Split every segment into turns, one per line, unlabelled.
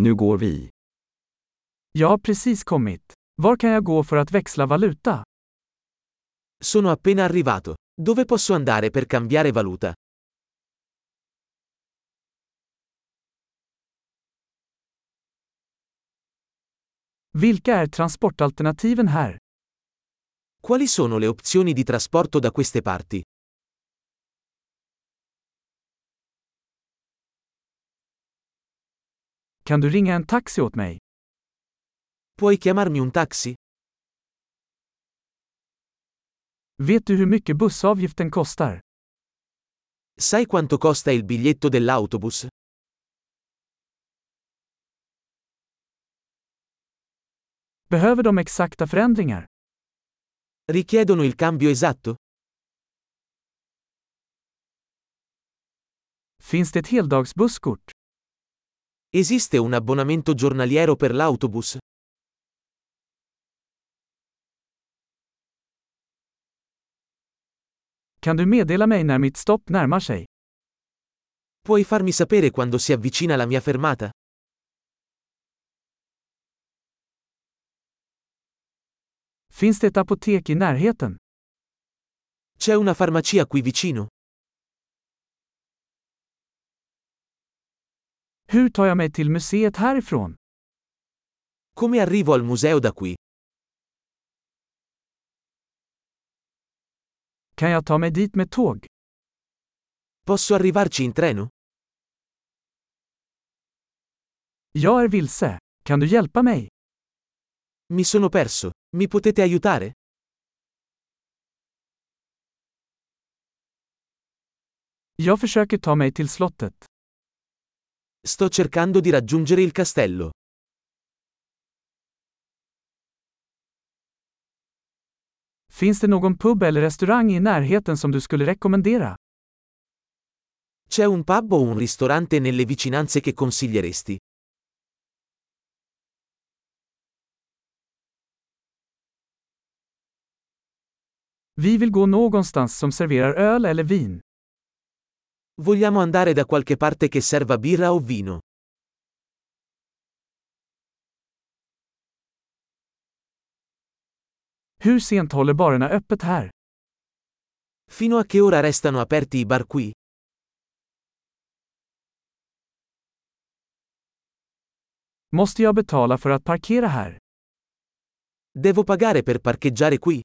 Nu går vi.
Jag har precis kommit. Var kan jag gå för att växla valuta?
Sono appena arrivato. Dove posso andare per cambiare valuta?
Vilka är transportalternativen här?
Quali sono le opzioni di trasporto da queste parti?
Kan du ringa en taxi åt mig?
Puoi chiamarmi un taxi?
Vet du hur mycket bussavgiften kostar?
Sai quanto costa il biglietto dell'autobus?
Behöver de exakta förändringar?
Richiedono il cambio esatto?
Finns det ett heldagsbusskort?
Esiste un abbonamento giornaliero per l'autobus?
Kan du meddela mig när mitt stopp närmar sig?
Puoi farmi sapere quando si avvicina la mia fermata?
Finns det ett apotek i närheten?
C'è una farmacia qui vicino?
Hur tar jag mig till museet härifrån?
Come arrivo al museo da qui?
Kan jag ta mig dit med tåg?
Posso arrivarci in treno?
Jag är vilse. Kan du hjälpa mig?
Mi sono perso. Mi potete aiutare?
Jag försöker ta mig till slottet.
Sto cercando di raggiungere il castello.
Finns det någon pub eller restaurang i närheten som du skulle rekommendera?
C'è un pub o un ristorante nelle vicinanze che consiglieresti?
Vi vill gå någonstans som serverar öl eller vin.
Vogliamo andare da qualche parte che serva birra o vino.
Hur sent håller barerna öppet här?
Fino a che ora restano aperti i bar qui?
Måste jag betala för att parkera här?
Devo pagare per parcheggiare qui?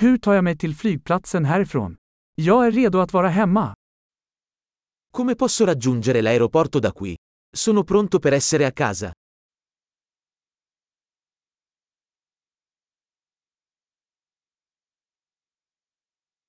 Hur tar jag mig till flygplatsen härifrån? Jag är redo att vara hemma.
Come posso raggiungere l'aeroporto da qui? Sono pronto per essere a casa.